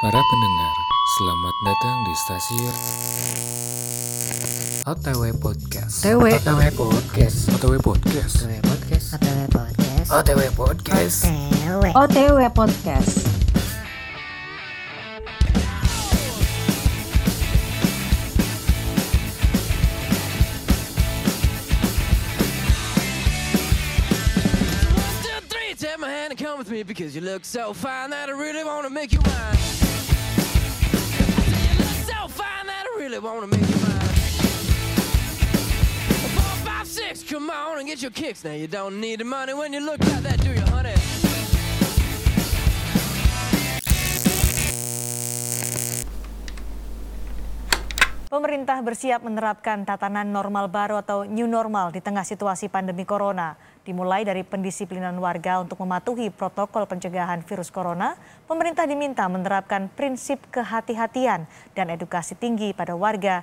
Para pendengar, selamat datang di stasiun OTW Podcast OTW. OTW Podcast OTW Podcast OTW Podcast OTW Podcast OTW Podcast OTW OTW Podcast One, two, three, take my hand and come with me because you look so fine that I really want to make you mine. I say you look so fine that I really want to make you mine. Four, five, six, come on and get your kicks. Now you don't need the money when you look like that, do you, honey? Pemerintah bersiap menerapkan tatanan normal baru atau new normal di tengah situasi pandemi corona. Dimulai dari pendisiplinan warga untuk mematuhi protokol pencegahan virus corona, pemerintah diminta menerapkan prinsip kehati-hatian dan edukasi tinggi pada warga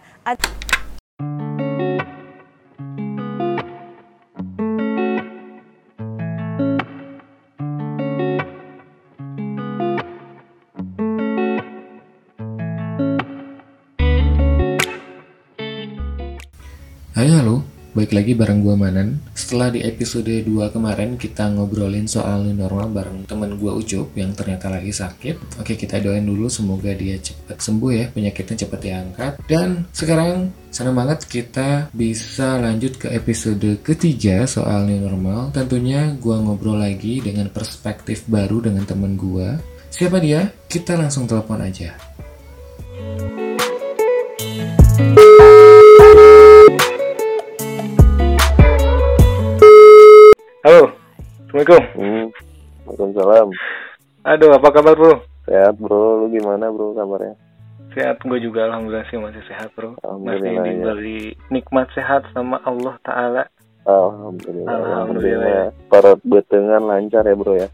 Hai halo, baik lagi bareng gua Manan Setelah di episode 2 kemarin kita ngobrolin soal new normal bareng temen gua Ucup yang ternyata lagi sakit Oke kita doain dulu semoga dia cepet sembuh ya, penyakitnya cepet diangkat Dan sekarang senang banget kita bisa lanjut ke episode ketiga soal new normal Tentunya gua ngobrol lagi dengan perspektif baru dengan temen gua Siapa dia? Kita langsung telepon aja Halo, Assalamualaikum. Hmm. Waalaikumsalam. Aduh, apa kabar bro? Sehat bro, lu gimana bro kabarnya? Sehat, gue juga alhamdulillah sih masih sehat bro. Masih Alhamdulillah, ya. diberi nikmat sehat sama Allah Ta'ala. Alhamdulillah. Alhamdulillah. Parot betengan lancar ya bro ya.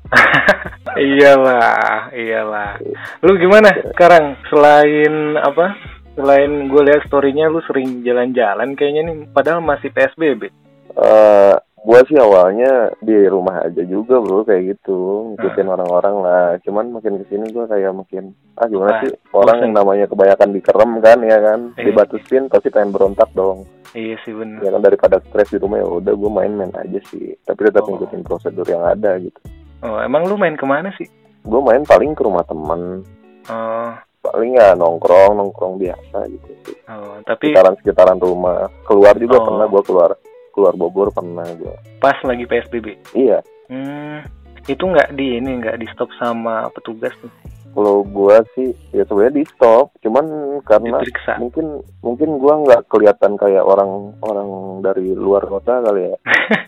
iyalah, iyalah. Lu gimana sekarang? Selain apa? Selain gue lihat story-nya lu sering jalan-jalan kayaknya nih. Padahal masih PSBB. Eh, gua sih awalnya di rumah aja juga bro kayak gitu ngikutin orang-orang lah. Cuman makin kesini gua kayak makin ah Ah, gimana sih orang bosen. yang namanya kebanyakan dikerem kan ya kan Iya. dibatusin pasti pengen berontak dong. Iya sih bener. Ya kan daripada stres di rumah ya udah gua main-main aja sih. Tapi tetap Oh. ngikutin prosedur yang ada gitu. Oh, emang lu main kemana sih? Gua main paling ke rumah temen Oh, paling ya nongkrong nongkrong biasa gitu sih. oh, tapi sekitaran sekitaran rumah keluar juga Oh. pernah gua keluar keluar Bogor pernah gua pas lagi PSBB. iya Hmm, itu nggak di ini nggak di stop sama petugas tuh. kalau gua sih ya sebenarnya di stop cuman karena Diperiksa. mungkin mungkin gua nggak kelihatan kayak orang orang dari luar kota kali ya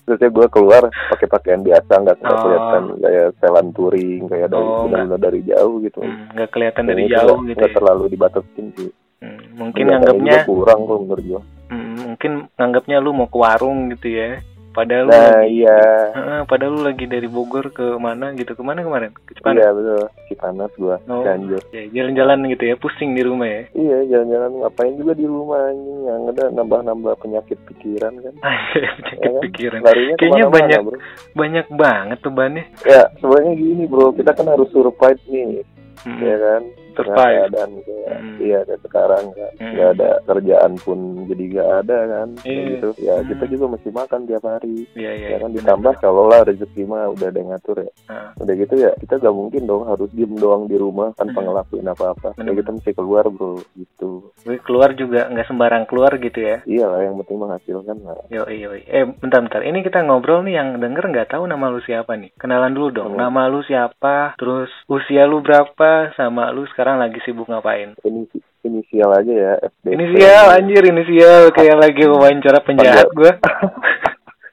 terusnya gua keluar pakai pakaian biasa nggak nggak Oh. kelihatan kayak selan touring kayak dari Oh, benar-benar dari jauh gitu Hmm, nggak kelihatan Dan dari itu jauh nggak- gitu nggak ya. terlalu dibatasin sih Hmm, mungkin Kelihatannya nganggapnya juga kurang kok menurut gua hmm, mungkin nganggapnya lu mau ke warung gitu ya padahal lu nah lagi- iya Heeh, padahal lu lagi dari Bogor ke mana gitu kemana kemarin ke Cipanas iya betul Cipanas gua Oh, Cianjur ya, jalan-jalan gitu ya pusing di rumah ya Iya jalan-jalan ngapain juga di rumah anjing yang ada nambah-nambah penyakit pikiran kan. Penyakit kan? pikiran Larinya Kayaknya kemana-mana, banyak. bro. banyak banget bebannya Ya sebenarnya gini bro, kita kan harus survive nih, Hmm, ya kan. Dengan survive Keadaan kayak, Hmm. iya kayak sekarang kan, Hmm. nggak ada kerjaan pun jadi nggak ada kan, kayak Iya. gitu. Ya Hmm. kita juga mesti makan tiap hari. Iya, iya, Ya kan benar, ditambah kalau lah rezeki mah udah ada yang ngatur ya. Ah. Udah gitu ya kita nggak mungkin dong harus diem doang di rumah tanpa Hmm. ngelakuin apa-apa. Ya Benar. kita mesti keluar bro, gitu. benar. Gue keluar juga nggak sembarang keluar gitu ya Iyalah yang penting menghasilkan nah, lah. Yoi, yoi. Eh, bentar, bentar. Ini kita ngobrol nih yang denger nggak tahu nama lu siapa nih. Kenalan dulu dong. Hmm. Nama lu siapa, terus usia lu berapa, sama lu sekarang lagi sibuk ngapain. Ini inisial aja ya FDP. Inisial, anjir, inisial. Kayak lagi wawancara penjahat gua.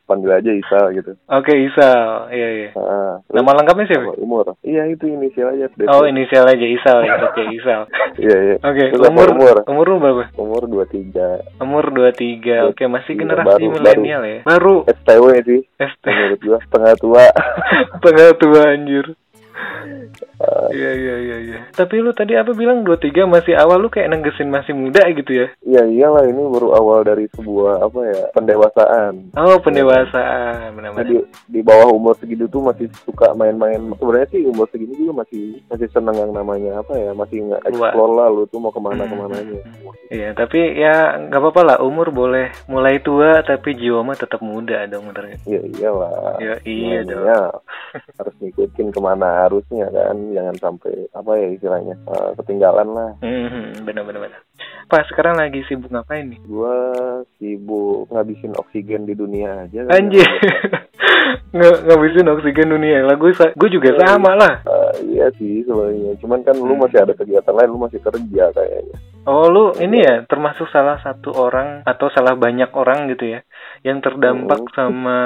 panggil aja Isa gitu. Oke, Isal. Iya, iya. Ah, terus Nama lengkapnya siapa? apa, umur. Iya itu inisial aja FDP. Oh, inisial aja Isal. ya. Oke, Isal. Iya iya. Oke, Terus apa, umur, umur umur lu berapa? umur 23. Umur 23. Oke, masih Iya, generasi baru, Eh, baru. milenial ya. Baru STW sih ST. menurut gua setengah tua. Tengah tua anjir. Iya iya iya iya. Tapi lu tadi apa bilang 23 masih awal lu kayak nanggesin masih muda gitu ya. Iya iyalah ini baru awal dari sebuah apa ya pendewasaan. Oh, pendewasaan benar-benar. Jadi di bawah umur segitu tuh masih suka main-main. Sebenarnya sih umur segini juga masih masih seneng yang namanya apa ya masih nggak Keluar. explore lah lu tuh mau Hmm. kemana kemananya. Iya, tapi ya nggak apa-apa lah. Umur boleh mulai tua, tapi jiwa mah tetap muda dong, bener nggak? Iya iyalah. Ya, iya dong. Makanya harus ngikutin kemana harusnya kan, jangan sampai apa ya istilahnya eh, ketinggalan lah. Mhm, bener-bener. bener. Pas sekarang lagi sibuk ngapain nih? Gua sibuk ngabisin oksigen di dunia aja. kan. Anjir, nggak ngabisin oksigen dunia. Lah gue sa- gue juga sama lah. Eh, iya sih sebenarnya. Cuman kan Hmm. lu masih ada kegiatan lain, lu masih kerja kayaknya. Oh lu ini ya termasuk salah satu orang atau salah banyak orang gitu ya yang terdampak Mhm. sama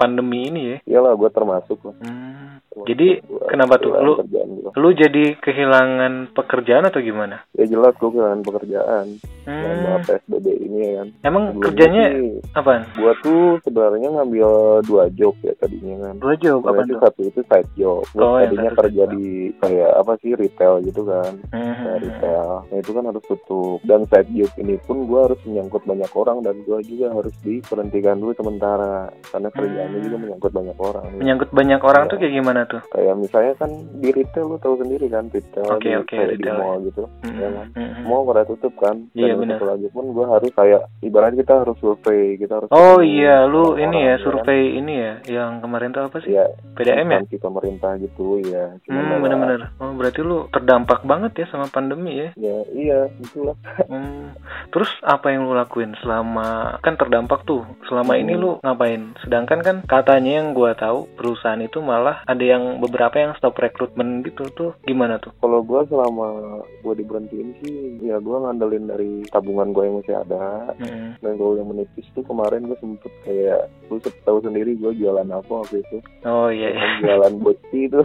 pandemi ini ya. Iyalah, gua termasuk lah. Hmm, Jadi, Gua kenapa tuh? kehilangan Lu- kerjaan gua. Lu jadi kehilangan pekerjaan atau gimana? Ya jelas gua kehilangan pekerjaan selama Hmm, PSBB ini ya kan. Emang Sebelumnya kerjanya sih, apaan? gua tuh sebenarnya ngambil dua job ya tadinya kan. Dua job apa Sebenarnya tuh? itu satu itu side job. Gua Oh, yang tadinya satu side kerja job. di kayak apa sih retail gitu kan. Kayak Mhm. retail. Nah, itu kan harus tutup. Dan side job ini pun gua harus menyangkut banyak orang dan gua juga harus diperhentikan dulu sementara karena kerjaannya Hmm. juga menyangkut banyak orang. Menyangkut banyak orang Iya. tuh kayak gimana tuh? Kayak misalnya kan di retail lu tahu sendiri kan retail Oke, di, oke, kayak retail. di mall gitu. Mhm, Iya kan? mhm. Mau pada tutup kan? Iya, Dan benar. satu lagi pun gua harus kayak ibarat kita harus survei, kita harus Oh ketemu iya, lu ini ya orang-orang, kan? survei ini ya, yang kemarin tuh apa sih? Iya, PDM ya? instansi pemerintah gitu ya. Cuman Hmm, malah- bener-bener. Oh, berarti lu terdampak banget ya sama pandemi ya. Ya iya, itulah. Hmm. Terus apa yang lu lakuin selama kan terdampak tuh? Selama ini lu ngapain? Sedangkan kan katanya yang gua tahu perusahaan itu malah ada yang beberapa yang stop rekrutmen gitu tuh. Gimana tuh? Kalau gua selama gua diberhentiin sih, ya gua ngandelin dari tabungan gua yang masih ada. Hmm. Dan kalau yang menipis tuh kemarin gua sempet kayak, lu se- tahu sendiri gua jualan apa waktu itu. Kan Oh iya. iya. Jualan boci itu.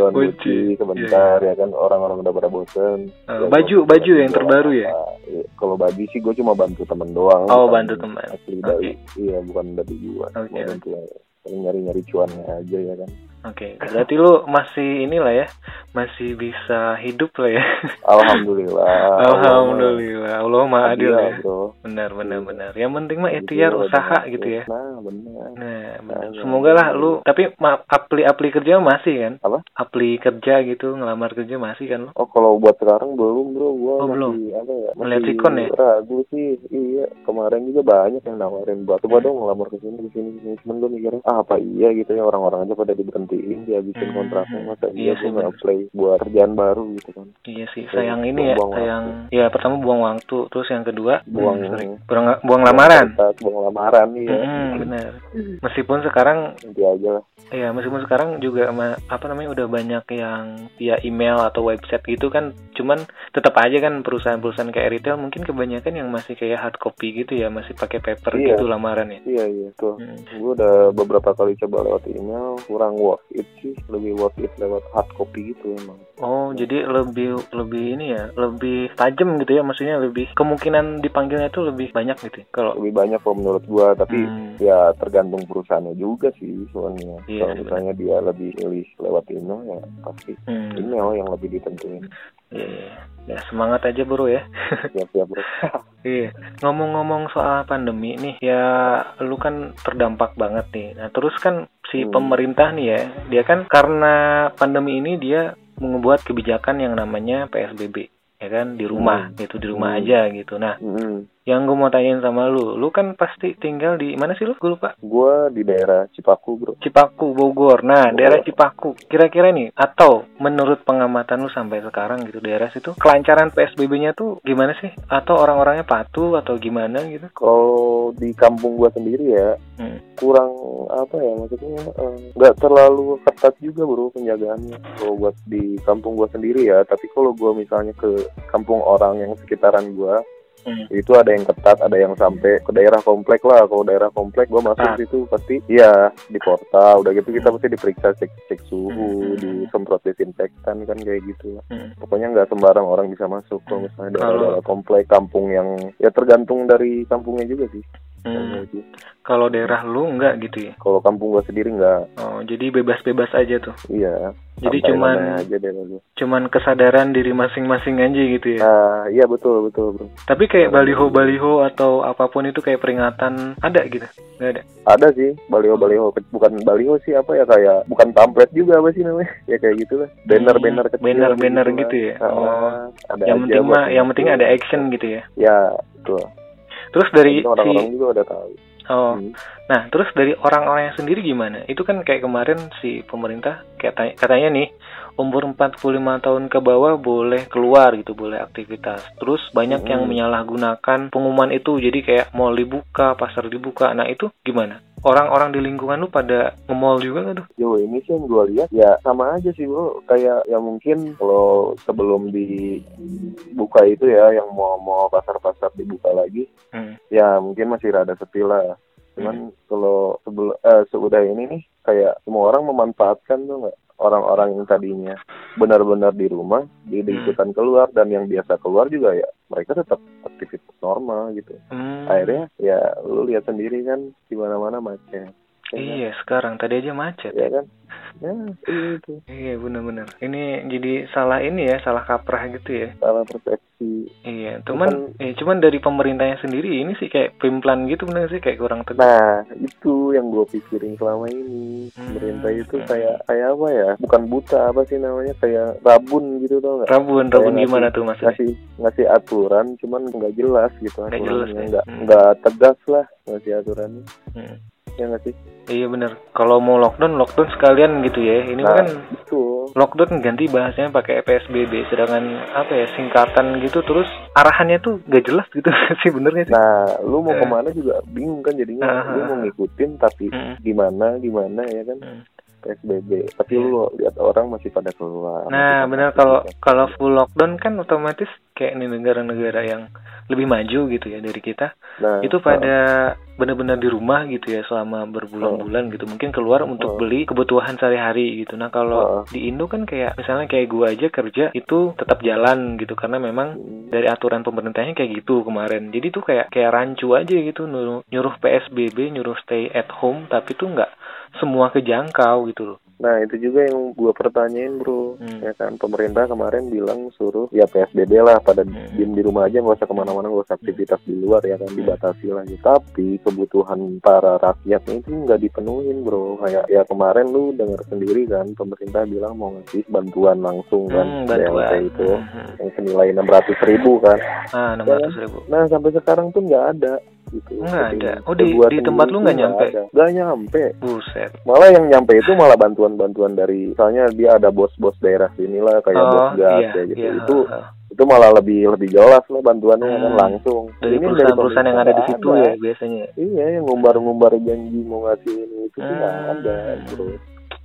jualan Boci, boci sebentar ya kan orang-orang udah pada bosen. Iya, Eh, Ya, baju gua- baju yang jualan terbaru ya. apa. Iya, Kalau baju sih gua cuma bantu temen doang. Oh bukan bantu teman. Asli Oke. dari, iya bukan dari gua. Oke, Cuma oke. bantu yang nyari-nyari cuannya aja ya kan. Oke. Berarti lu masih inilah ya, masih bisa hidup lah ya. Alhamdulillah. Alhamdulillah. Allah maha adil Adil, ya. bro. Benar benar benar. Yang penting mah ikhtiar usaha gitu ya. Nah, benar. Nah, Nah, benar. semoga lah iya. lu. Tapi maaf, apli apli kerja masih kan? Apa? Apli kerja gitu, ngelamar kerja masih kan lu? Oh, kalau buat sekarang belum, bro. Gua Oh, masih belum. apa ya? Masih Melihat sikon ya? Ragu sih. Iya, kemarin juga banyak yang nawarin buat coba Hmm. dong ngelamar ke sini ke sini ke sini. Cuman gua mikirnya, ah, apa iya gitu ya orang-orang aja pada diberhentiin, dihabisin Hmm, kontraknya masa iya iya sih, gua nggak bener. apply buat kerjaan baru gitu kan. Iya sih, Saya sayang ini ya, buang waktu. sayang. Ya pertama buang waktu, terus yang kedua Buang Hmm, sorry. buang, buang lamaran. Kontrak, Iya, buang lamaran iya. Hmm, benar. Meskipun sekarang, Nanti aja lah. ya meskipun sekarang juga ma- apa namanya udah banyak yang via email atau website gitu kan, cuman tetap aja kan perusahaan-perusahaan kayak retail mungkin kebanyakan yang masih kayak hard copy gitu ya, masih pakai paper Iya. gitu lamaran ya. Iya, iya, tuh. Hmm. Gue udah beberapa kali coba lewat email, kurang worth it sih, lebih worth it lewat hard copy gitu emang. Oh, jadi lebih lebih ini ya, lebih tajam gitu ya, maksudnya lebih kemungkinan dipanggilnya itu lebih banyak gitu. ya, Kalau Lebih banyak kok menurut gua, tapi Hmm, ya tergantung perusahaannya juga sih sebenarnya. Iya, Kalau sih, misalnya dia lebih milih lewat email ya pasti hmm, email yang lebih ditentuin. iya, iya. Ya, semangat aja bro ya. Siap-siap bro. Iya. Ngomong-ngomong soal pandemi nih, ya lu kan terdampak banget nih. Nah, terus kan si Hmm. pemerintah nih ya, dia kan karena pandemi ini dia membuat kebijakan yang namanya PSBB ya kan di rumah gitu di rumah Hmm. aja gitu nah Mm-mm. yang gue mau tanyain sama lu lu kan pasti tinggal di mana sih lu gue lupa Gua di daerah Cipaku bro. Cipaku, Bogor. Nah, Bogor. daerah Cipaku, kira-kira nih, atau menurut pengamatan lu sampai sekarang gitu, daerah situ, kelancaran PSBB-nya tuh gimana sih? Atau orang-orangnya patuh atau gimana gitu? Kalau di kampung gua sendiri ya Hmm. kurang apa ya maksudnya eh, nggak terlalu ketat juga bro penjagaannya kalau buat di kampung gua sendiri ya tapi kalau gua misalnya ke kampung orang yang sekitaran gua Hmm. itu ada yang ketat ada yang sampai ke daerah komplek lah kalau daerah komplek gua Ketat. masuk situ pasti ya di portal udah gitu kita mesti diperiksa cek cek Hmm. suhu disemprot disinfektan kan kayak gitu lah. Hmm. pokoknya nggak sembarang orang bisa masuk kalau misalnya Kalau- daerah komplek kampung yang ya tergantung dari kampungnya juga sih Kayaknya Hmm. sih. Kalau daerah lu enggak gitu ya? Kalau kampung gua sendiri nggak, Oh, jadi bebas-bebas aja tuh. iya. Jadi santai cuman namanya aja deh lalu. cuman kesadaran diri masing-masing aja gitu ya. Nah, iya betul betul bro. Tapi kayak baliho-baliho atau apapun itu kayak peringatan ada gitu. Enggak ada. Ada sih baliho baliho, bukan baliho sih apa ya kayak bukan pamflet juga apa sih namanya? ya kayak gitulah. Banner banner kecil. banner banner lah. Hmm, gitu ya. Ah, Oh. Yang ada aja penting buat mah yang itu. penting ada action gitu ya. Ya betul. Terus dari Mungkin orang-orang si juga udah tahu. Oh. Hmm. Nah, terus dari orang-orangnya sendiri gimana? Itu kan kayak kemarin si pemerintah kayak tanya- katanya nih umur 45 tahun ke bawah boleh keluar gitu, boleh aktivitas. Terus banyak yang Hmm. menyalahgunakan pengumuman itu. Jadi kayak mall dibuka, pasar dibuka. Nah, itu gimana? Orang-orang di lingkungan lu pada nge-mall juga nggak tuh? Jauh ini sih yang gue lihat ya sama aja sih bro kayak ya mungkin kalau sebelum dibuka itu ya yang mau mau pasar-pasar dibuka lagi Hmm. ya mungkin masih rada sepi lah cuman kalau sebelum eh, seudah ini nih kayak semua orang memanfaatkan tuh nggak orang-orang yang tadinya benar-benar di rumah di Hmm. ikutan keluar dan yang biasa keluar juga ya mereka tetap aktivitas normal gitu Hmm. akhirnya ya lu lihat sendiri kan di mana-mana macet Ya kan? Iya, sekarang tadi aja macet. ya kan ya itu Iya, bener-bener. Ini jadi salah ini ya, salah kaprah gitu ya. salah persepsi Iya, cuman eh, cuman dari pemerintahnya sendiri ini sih kayak pelan gitu bener sih kayak kurang tegas. nah itu yang gue pikirin selama ini pemerintah Hmm. itu kayak kayak apa ya bukan buta apa sih namanya kayak rabun gitu tau nggak Rabun, rabun Kayak gimana tuh maksudnya? ngasih ngasih aturan cuman nggak jelas gitu Nggak aturannya. jelas ya. nggak Hmm. nggak tegas lah ngasih aturannya Hmm. ya nggak sih Iya bener. Kalau mau lockdown, lockdown sekalian gitu ya. Ini Nah. kan betul lockdown ganti bahasanya pakai PSBB, sedangkan apa ya singkatan gitu terus arahannya tuh gak jelas gitu sih benernya sih. nah lu mau Eh. kemana juga bingung kan jadinya Ah. lu mau ngikutin tapi Hmm. gimana gimana ya kan Hmm. Iya. PSBB tapi lu lihat orang masih pada keluar masih Nah pada bener kalau aktivitas. kalau full lockdown kan otomatis kayak nih negara-negara yang lebih maju gitu ya dari kita Nah, itu pada benar-benar di rumah gitu ya selama Nah. berbulan-bulan gitu mungkin keluar untuk Oh. beli kebutuhan sehari-hari gitu nah kalau Oh. di Indo kan kayak misalnya kayak gua aja kerja itu tetap jalan gitu karena memang Hmm. dari aturan pemerintahnya kayak gitu kemarin jadi tuh kayak kayak rancu aja gitu nyuruh, nyuruh PSBB nyuruh stay at home tapi tuh nggak semua kejangkau gitu loh Nah itu juga yang gue pertanyain bro Hmm. Ya kan pemerintah kemarin bilang suruh Ya PSBB lah pada Hmm. diem di rumah aja Gak usah kemana-mana gak usah aktivitas di luar ya kan Dibatasi lah gitu Tapi kebutuhan para rakyatnya itu nggak dipenuhin bro Kayak ya kemarin lu dengar sendiri kan Pemerintah bilang mau ngasih bantuan langsung Hmm, kan bantuan. BLT itu Hmm. Yang senilai 600 ribu kan ah enam ratus ribu Nah sampai sekarang tuh nggak ada gitu Nggak Jadi, ada. Oh, di- gua di sendiri tempat lu tuh nggak nyampe? ada. Nggak nyampe buset malah yang nyampe itu malah bantuan-bantuan dari misalnya dia ada bos-bos daerah sini lah kayak Oh, bos gas iya, ya gitu itu itu malah lebih lebih jelas lah bantuannya kan Hmm. langsung dari Ini perusahaan-perusahaan yang ada di pemerintah situ nggak ya ada. biasanya iya yang ngumbar-ngumbar janji mau ngasih ini itu tuh nggak Hmm. ada bro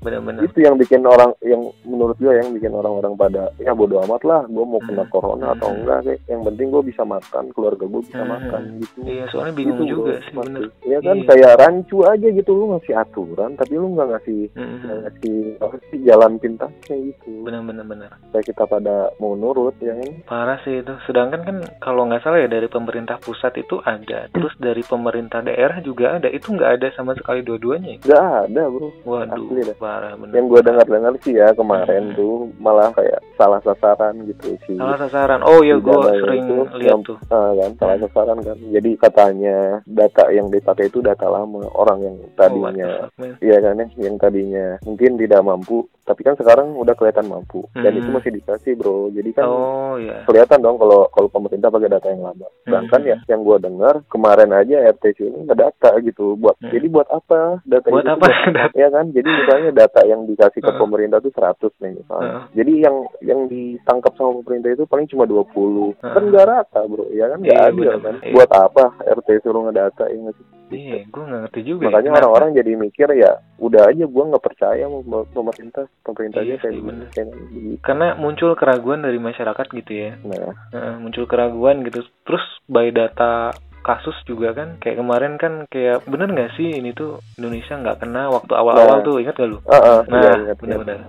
benar-benar itu yang bikin orang yang menurut gue yang bikin orang-orang pada ya bodo amat lah gue mau kena Hmm. corona atau Hmm. enggak sih yang penting gue bisa makan keluarga gue bisa Hmm. makan gitu Iya, soalnya bingung Gitu, juga bro, sih, pasti. bener. Iya kan Iya. kayak rancu aja gitu lu ngasih aturan tapi lu nggak ngasih nggak Mm-mm. ngasih Nah, apa sih, jalan pintasnya gitu. Bener, bener, bener. Kayak kita pada mau nurut ya kan. Parah sih itu. Sedangkan kan kalau nggak salah ya dari pemerintah pusat itu ada, terus dari pemerintah daerah juga ada. Itu nggak ada sama sekali dua-duanya. ya? Nggak ada bro. Waduh, Asli dah. parah bener. Yang gue dengar-dengar sih ya kemarin Hmm. tuh malah kayak salah sasaran gitu sih. Salah sasaran. Oh ya, gue Tidak ada sering itu. lihat Yang- tuh. Ah, kan salah Hmm. sasaran kan. Jadi katanya data yang dipakai itu data lama orang yang Oh, what the tadinya fuck, man. Iya kan ya, yang tadinya mungkin tidak mampu, tapi kan sekarang udah kelihatan mampu dan Hmm. itu masih dikasih bro. Jadi kan Oh ya. kelihatan dong kalau kalau pemerintah pakai data yang lama. Sedangkan Hmm. ya yang gua dengar kemarin aja RT ini ngedata gitu buat Hmm. jadi buat apa data Buat itu apa? Hmm. tuh- Ya kan, jadi misalnya data yang dikasih ke Heeh. pemerintah tuh 100 nih misalnya. Heeh. Jadi yang yang ditangkap sama pemerintah itu paling cuma 20. Kan Heeh. nggak rata, Bro. Ya kan nggak Hmm. Iya, adil benar. kan. Iya. Buat apa RT suruh ngedata ya nggak sih? Iya, gue nggak ngerti juga. ya, Makanya kenapa. orang-orang jadi mikir ya, udah aja gua nggak percaya sama pemerintah, pemerintah Iya aja kayak sih, gini, benar. kayak gini. karena muncul keraguan dari masyarakat gitu ya. Nah, Heeh, muncul keraguan gitu terus by data kasus juga kan kayak kemarin kan kayak bener nggak sih ini tuh Indonesia nggak kena waktu awal-awal Nah. tuh ingat gak lu ah, ah, iya, nah ingat, ingat. bener-bener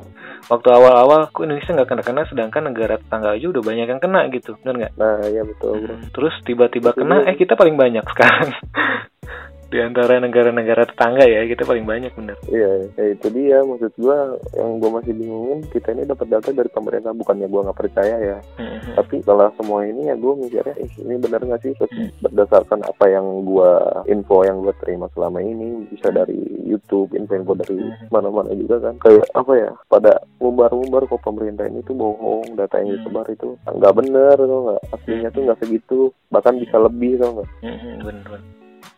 waktu awal-awal kok Indonesia nggak kena kena sedangkan negara tetangga aja udah banyak yang kena gitu bener nggak Nah, ya betul, Bro. terus tiba-tiba Betul. kena eh kita paling banyak sekarang di antara negara-negara tetangga ya kita paling banyak bener Iya, ya itu dia maksud gua yang gua masih bingungin kita ini dapat data dari pemerintah bukannya gua nggak percaya ya. Hmm, Tapi setelah semua ini ya gua mikirnya "Ih, ini bener nggak sih Terus berdasarkan apa yang gua info yang gua terima selama ini bisa dari YouTube, info-info dari mana-mana juga kan. Kayak apa ya? Pada ngumbar-ngumbar kok pemerintah ini tuh bohong, data yang disebar itu nggak bener tuh nggak aslinya tuh nggak segitu, bahkan bisa lebih tuh nggak? hmm, bener bener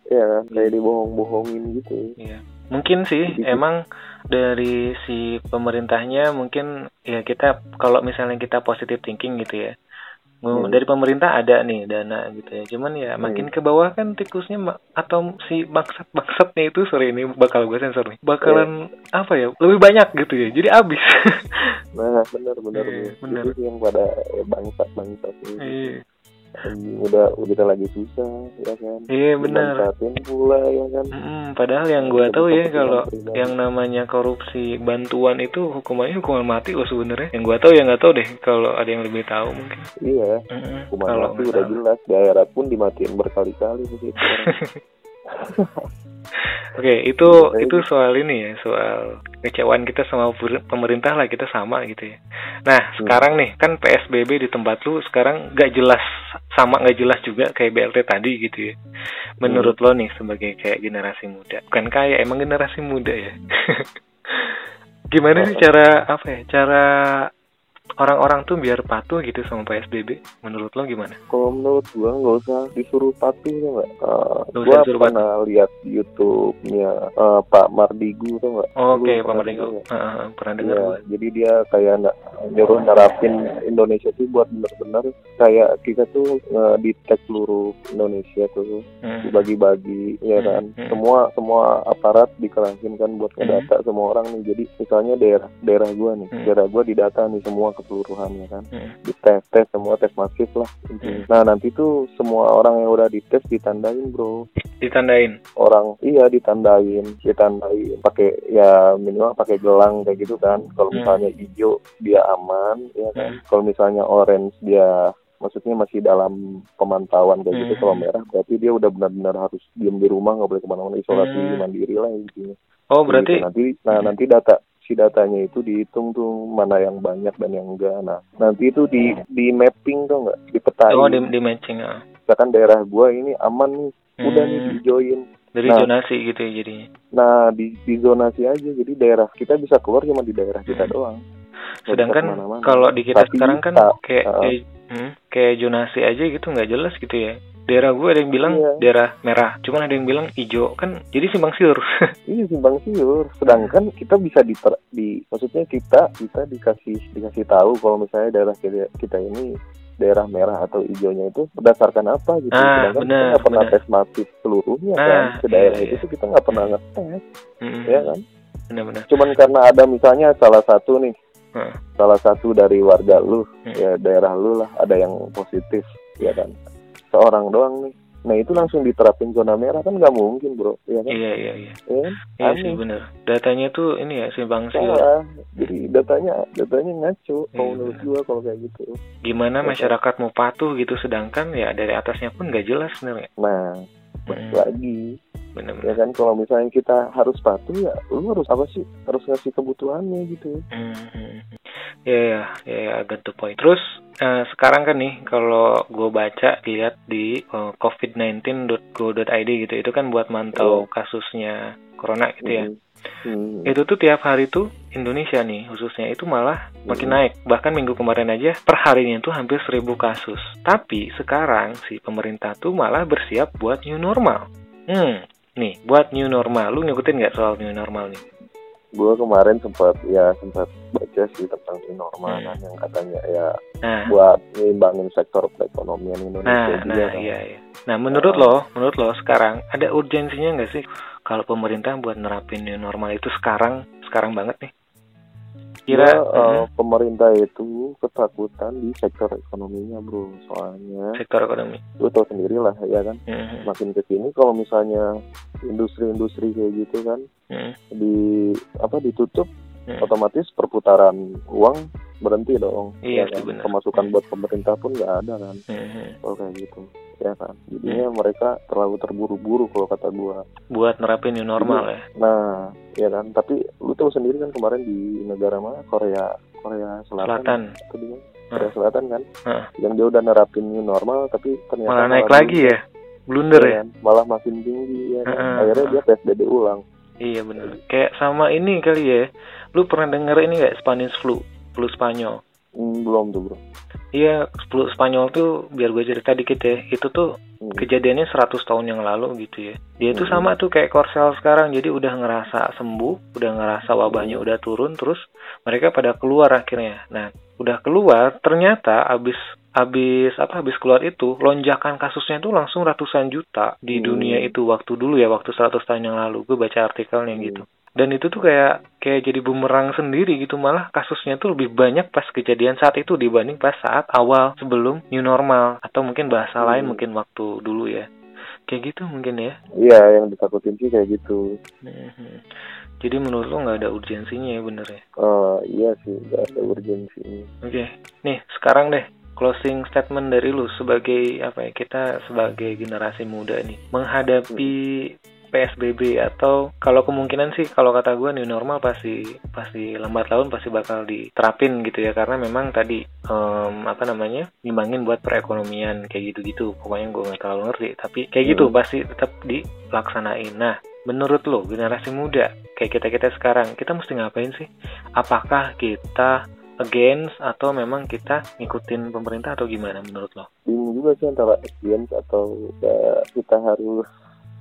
Iya kan? Kayak dibohong-bohongin gitu. Iya. Mungkin sih Gitu. emang dari si pemerintahnya mungkin ya kita kalau misalnya kita positive thinking gitu ya. Mu- Hmm. Dari pemerintah ada nih dana gitu ya. Cuman ya makin ke bawah kan tikusnya ma- atau si bangsat-bangsatnya itu sorry ini bakal gue sensor nih. Bakalan apa ya? Lebih banyak gitu ya. Jadi abis. Nah, benar benar Iya, benar. benar. Itu sih yang pada bangsa bangsa ini Iya, udah kita lagi susah ya kan. Iya benar. Dimanfaatin pula ya kan. Mm-mm, padahal yang gue tahu ya Kepentingan kalau pribadi. yang namanya korupsi bantuan itu hukumannya hukuman mati loh sebenarnya. Yang gue tahu ya nggak tahu deh kalau ada yang lebih tahu mungkin. Iya, Mm-mm, hukuman kalau mati nggak udah tahu. jelas. Di akhirat pun dimatiin berkali-kali sih. Oke, itu Jadi- itu soal ini ya, soal kecewaan kita sama per- pemerintah lah kita sama gitu ya. Hmm. Nah, sekarang nih kan PSBB di tempat lu sekarang nggak jelas sama nggak jelas juga kayak BLT tadi gitu ya. Menurut Hmm. lo nih sebagai kayak generasi muda, bukan kayak emang generasi muda ya. Gimana sih cara apa ya? Cara orang-orang tuh biar patuh gitu sama PSBB? Menurut lo gimana? kalau menurut gua nggak usah disuruh patuh ya nggak. Eh, Nggak usah gua disuruh pernah lihat YouTube-nya eh, Pak Mardigu tuh nggak. Oke, Pak Lu Oh, pernah Mardigo. dengar Heeh, pernah dengar Iya, gue. jadi dia kayak na- nyuruh nerapin Indonesia tuh buat bener-bener kayak kita tuh eh, detect seluruh Indonesia tuh Hmm. dibagi-bagi ya Hmm, kan hmm. semua semua aparat dikerahin kan buat ngedata semua orang nih jadi misalnya daerah daerah gua nih Hmm. daerah gua didata nih semua keseluruhan ya kan Hmm. dites tes semua tes masif lah Hmm. nah nanti tuh semua orang yang udah dites ditandain bro Ditandain. orang iya ditandain ditandain pakai ya minimal pakai gelang kayak gitu kan kalau Hmm. misalnya hijau dia aman ya kan kalau misalnya orange dia maksudnya masih dalam pemantauan kayak gitu Hmm. kalau merah berarti dia udah benar-benar harus diem di rumah nggak boleh kemana-mana isolasi Hmm. mandiri lah intinya Oh, berarti Gitu. nanti nah Hmm. nanti data si datanya itu dihitung tuh mana yang banyak dan yang enggak nah nanti itu di di mapping tuh nggak dipetain Oh, di, di matching ah. misalkan daerah gua ini aman nih udah nih Hmm. dijoin Dari Nah. zonasi gitu ya jadinya. Nah di, di zonasi aja jadi daerah kita bisa keluar cuma di daerah kita doang. Nggak bisa Hmm. Sedangkan kemana-mana. kalau di kita Tapi sekarang kan tak- kayak uh-uh. kayak, hmm, kayak zonasi aja gitu nggak jelas gitu ya. Daerah gue ada yang bilang Iya. daerah merah, cuman ada yang bilang hijau kan. Jadi simpang siur. iya simpang siur. Sedangkan kita bisa di, di maksudnya kita kita dikasih dikasih tahu kalau misalnya daerah kita, kita ini daerah merah atau hijaunya itu berdasarkan apa gitu. Ah, Sedangkan benar, kita nggak pernah benar. tes masif seluruhnya Nah, kan ke daerah iya, itu tuh kita nggak pernah ngetes Hmm, ya kan. Benar-benar. Cuman karena ada misalnya salah satu nih Heeh. salah satu dari warga lu Hmm. ya daerah lu lah ada yang positif ya kan seorang doang nih nah itu langsung diterapin zona merah kan nggak mungkin bro ya kan Iya iya iya. ya kan? Iya sih Aneh. Iya. benar. Datanya tuh ini ya simpang siur. salah jadi datanya datanya ngaco kalau Iya, menurut benar. gua kalau kayak gitu Gimana Betul. masyarakat mau patuh gitu sedangkan ya dari atasnya pun nggak jelas sebenarnya. nah balik Hmm, lagi ya Benar-benar. kan kalau misalnya kita harus patuh ya lu harus apa sih harus ngasih kebutuhannya gitu Hmm, ya ya ya ya, get the point. Terus eh, sekarang kan nih kalau gue baca lihat di eh, covid19.go.id gitu itu kan buat mantau kasusnya corona gitu ya. Hmm. Hmm. Itu tuh tiap hari tuh Indonesia nih khususnya itu malah makin Hmm. naik. Bahkan minggu kemarin aja perharinya tuh hampir 1000 kasus. Tapi sekarang si pemerintah tuh malah bersiap buat new normal. Hmm, nih buat new normal. Lu ngikutin nggak soal new normal nih? gua kemarin sempat ya sempat baca sih tentang Hmm. normalan yang katanya ya Nah, buat ngimbangin sektor perekonomian Indonesia Nah, juga nah, kan. iya, iya. Nah, menurut Heeh. lo, menurut lo sekarang ada urgensinya nggak sih kalau pemerintah buat nerapin new normal itu sekarang, sekarang banget nih? Kira, Ya, eh, mm, pemerintah itu ketakutan di sektor ekonominya bro soalnya sektor ekonomi. lu tau sendiri lah ya kan Mm, makin kesini kalau misalnya industri-industri kayak gitu kan mm, di apa ditutup mm. otomatis perputaran uang berhenti dong Iya, ya kan? benar. Hmm. pemasukan buat pemerintah pun nggak ada kan Mm, mm. kalau kayak gitu ya kan jadinya Hmm. mereka terlalu terburu-buru kalau kata gua buat nerapin new normal ya. nah ya kan tapi lu tahu sendiri kan kemarin di negara mana Korea Korea Selatan, Selatan Hmm. atau di mana? Hah. Korea Selatan kan Hah. yang dia udah nerapin new normal tapi ternyata malah naik lagi ya, blunder ya ya. Hmm. kan? malah makin tinggi ya kan? Heeh. akhirnya dia PSBB ulang Iya bener. Kayak sama ini kali ya. Lu pernah denger ini nggak Spanish flu, flu Spanyol? Hmm, belum tuh bro Iya, flu Spanyol tuh biar gue cerita dikit ya. Itu tuh Hmm. kejadiannya 100 tahun yang lalu gitu ya. Dia tuh Hmm. sama tuh kayak Korsel sekarang. Jadi udah ngerasa sembuh, udah ngerasa Hmm. wabahnya udah turun terus mereka pada keluar akhirnya. Nah, udah keluar ternyata abis abis apa abis keluar itu lonjakan kasusnya tuh langsung ratusan juta di Hmm. dunia itu waktu dulu ya waktu 100 tahun yang lalu gue baca artikelnya Hmm. gitu dan itu tuh kayak kayak jadi bumerang sendiri gitu malah kasusnya tuh lebih banyak pas kejadian saat itu dibanding pas saat awal sebelum new normal atau mungkin bahasa Hmm. lain mungkin waktu dulu ya kayak gitu mungkin ya iya yang ditakutin sih kayak gitu Mhm. jadi menurut lo nggak ada urgensinya ya bener ya Eh, iya sih gak ada urgensi oke nih sekarang deh closing statement dari lu sebagai apa ya kita sebagai generasi muda nih menghadapi PSBB atau kalau kemungkinan sih kalau kata gue new normal pasti pasti lambat laun pasti bakal diterapin gitu ya karena memang tadi em, apa namanya ngimbangin buat perekonomian kayak gitu-gitu pokoknya gue nggak terlalu ngerti tapi kayak gitu pasti tetap dilaksanain nah menurut lo generasi muda kayak kita kita sekarang kita mesti ngapain sih apakah kita against atau memang kita ngikutin pemerintah atau gimana menurut lo? bingung juga sih antara against atau ya, kita harus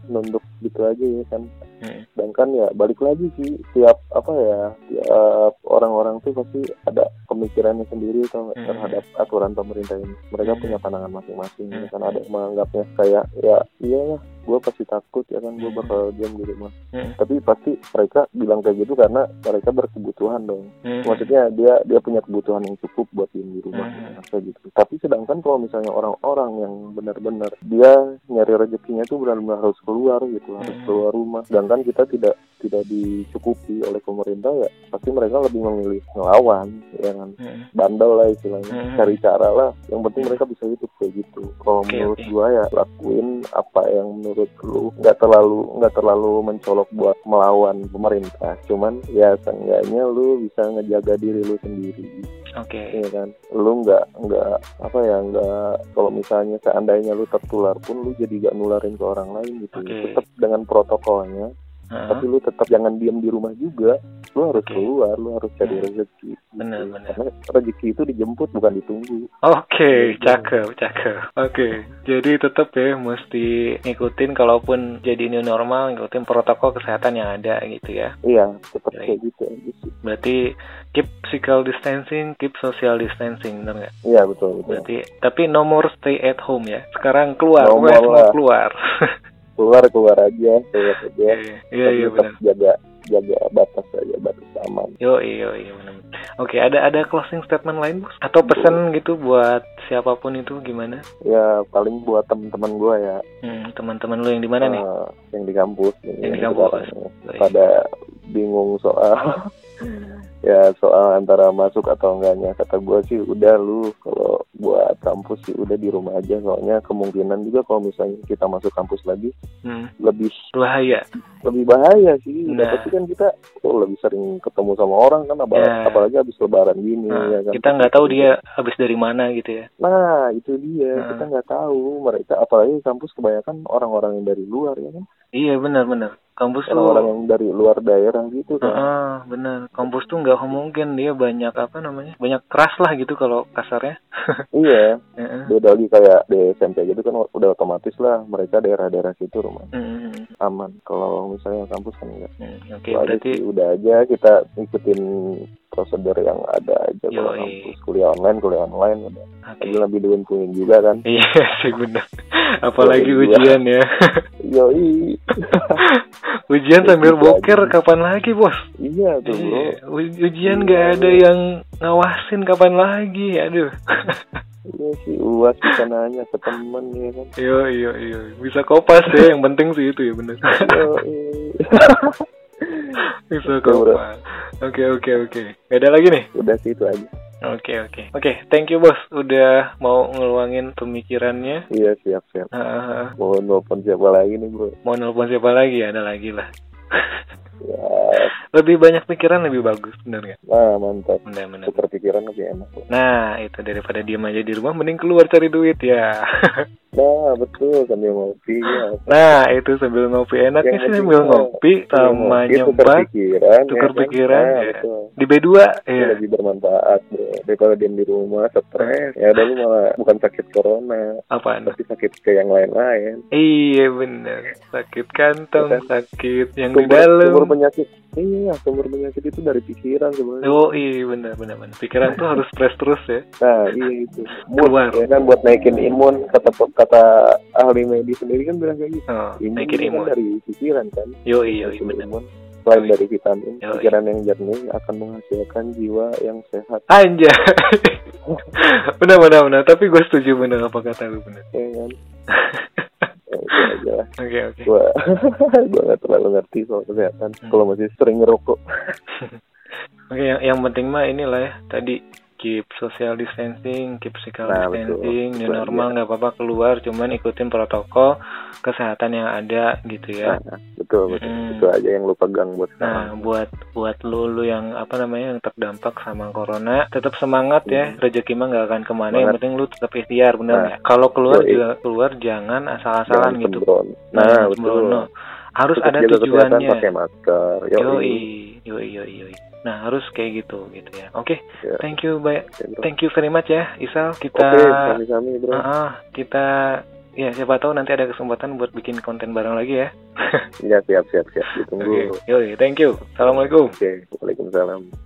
nunduk gitu aja ya kan Hmm. sedangkan ya balik lagi sih tiap apa ya tiap orang-orang tuh pasti ada pemikirannya sendiri atau Hmm. terhadap aturan pemerintah ini mereka Hmm. punya pandangan masing-masing ya kan Hmm. ada yang menganggapnya kayak ya iyalah gue pasti takut ya kan gue Hmm. bakal diam di rumah Hmm. tapi pasti mereka bilang kayak gitu karena mereka berkebutuhan dong maksudnya dia dia punya kebutuhan yang cukup buat diem di rumah Hmm. kayak gitu tapi sedangkan kalau misalnya orang-orang yang benar-benar dia nyari rezekinya tuh benar-benar harus keluar gitu harus Hmm. keluar rumah sedangkan kita tidak tidak dicukupi oleh pemerintah ya pasti mereka lebih memilih ngelawan ya kan Hmm. bandel lah istilahnya Hmm. cari cara lah yang penting mereka bisa hidup kayak gitu kalau Oke, menurut oke. gua ya lakuin apa yang menurut lu nggak terlalu nggak terlalu mencolok buat melawan pemerintah cuman ya seenggaknya lu bisa ngejaga diri lu sendiri Oke. ya kan lu nggak nggak apa ya nggak kalau misalnya seandainya lu tertular pun lu jadi nggak nularin ke orang lain gitu Oke. tetap dengan protokolnya Heeh. tapi lu tetap jangan diam di rumah juga lu harus Oke. keluar lu harus cari Hmm. rezeki gitu. Benar, benar. karena rezeki itu dijemput bukan ditunggu Oke, cakep, cakep. Oke, jadi tetap ya mesti ngikutin kalaupun jadi new normal, ngikutin protokol kesehatan yang ada gitu ya. iya tetap Baik. kayak gitu aja sih. Berarti keep physical distancing, keep social distancing, bener nggak? iya betul betul Berarti, tapi no more stay at home ya. Sekarang keluar, No gue more mau lah. keluar. keluar keluar aja keluar aja Iya, iya, Tapi iya tetap benar. jaga jaga batas aja batas aman Yo, yo, yo, benar. Oke, ada ada closing statement lain, Bos? Atau pesan gitu buat siapapun itu gimana? ya paling buat teman-teman gua ya Hmm, teman-teman lu yang di mana nih? eh, yang di kampus Yang di ya, kampus. sekarang. Iya. pada bingung soal ya soal antara masuk atau enggaknya kata gue sih udah lu kalau buat kampus sih udah di rumah aja soalnya kemungkinan juga kalau misalnya kita masuk kampus lagi Hmm, lebih bahaya. lebih bahaya sih Udah Nah. pasti kan kita oh, lebih sering ketemu sama orang kan apa- Ya. apalagi habis lebaran gini Nah, ya kan kita nggak tahu dia habis dari mana gitu ya. nah itu dia Nah. kita nggak tahu mereka apalagi di kampus kebanyakan orang-orang yang dari luar ya kan Iya benar-benar. Kampus tuh, orang-orang yang dari luar daerah gitu kan Heeh, benar. Kampus tuh nggak homogen dia banyak apa namanya? Banyak keras lah gitu kalau kasarnya. iya Heeh. beda lagi kayak di SMP gitu kan udah otomatis lah mereka daerah-daerah situ rumah Hmm, aman kalau misalnya kampus kan enggak hmm, Oke, Itu aja berarti sih, udah aja kita ikutin prosedur yang ada aja kalau Yoi. kampus kuliah online kuliah online udah oke. lagi lebih diuntungin juga kan Iya sih benar. Apalagi Iya. ujian ya. yoi ujian Ya, sambil gitu boker aja. kapan lagi, Bos? iya tuh bro Iya, u- ujian nggak ada yang ngawasin kapan lagi, aduh. iya sih uas bisa nanya ke temen ya kan Yo yo yo, bisa kopas ya, yang penting sih itu ya bener. yoi bisa kopas. Oke oke oke, Nggak ada lagi nih. udah sih itu aja Oke oke oke. Thank you bos, udah mau ngeluangin pemikirannya. Iya siap siap. Heeh. Mau nelfon siapa lagi nih bro? mau nelpon siapa lagi? Ada lagi lah. Ya, lebih banyak pikiran lebih bagus, bener nggak? nah mantap. Bener bener. Tukar pikiran lebih enak. Bro. Nah itu daripada diem aja di rumah, mending keluar cari duit ya. Nah betul sambil ngopi ya. nah itu sambil ngopi enaknya Yang sih penting sambil mah, ngopi sama Ngopi, Iya, tukar nyembat pikiran. tukar ya kan? pikiran, Nah, ya. betul. di B2 Itu iya. lebih bermanfaat bro daripada diam di rumah stres ya udah lu malah bukan sakit corona apaan? tapi sakit ke yang lain-lain Iya bener sakit kantong, Bukan. sakit yang di sumber, sumber dalam. penyakit iya sumber penyakit itu dari pikiran sebenarnya Oh iya bener bener bener. Pikiran tuh harus fresh terus ya. nah iya itu mood Keluar. ya kan buat naikin imun kata kata ahli medis sendiri kan bilang kayak gitu Oh, imun naikin itu kan imun. dari pikiran kan Yo iya Naikin bener. imun selain Yoi. dari vitamin Yoi. pikiran yang jernih akan menghasilkan jiwa yang sehat Anjay. bener bener bener. Tapi gue setuju bener apa kata lu bener. ya kan ya, itu aja lah Oke oke. gua gua nggak terlalu ngerti soal kesehatan Hmm. kalau masih sering ngerokok Oke yang, yang penting mah inilah ya tadi keep social distancing, keep physical Nah, betul. distancing, new Betul, iya. normal nggak apa-apa keluar, cuman ikutin protokol kesehatan yang ada gitu ya. nah, betul betul Hmm. itu aja yang lu pegang buat Nah, sekarang buat buat lu, lu yang apa namanya yang terdampak sama corona, tetap semangat ya. Rezeki mah nggak akan kemana. Yang Hmm. Semangat. penting lu tetap ikhtiar, bener Nah, nggak? Kalau keluar yoi. juga keluar jangan asal-asalan Jangan gitu. sembrono. nah Jangan betul sembrono. Harus Tetap ada jaga kesehatan, tujuannya. pakai masker Yoi, yoi, yoi, yoi. Nah, harus kayak gitu gitu ya. Oke, Ya. thank you banyak. Oke, bro. Thank you very much ya, Isal. Kita oke sami-sami bro Ah, kita ya siapa tahu nanti ada kesempatan buat bikin konten bareng lagi ya. ya siap siap siap ditunggu Oke. Yoi, thank you. Assalamualaikum. oke waalaikumsalam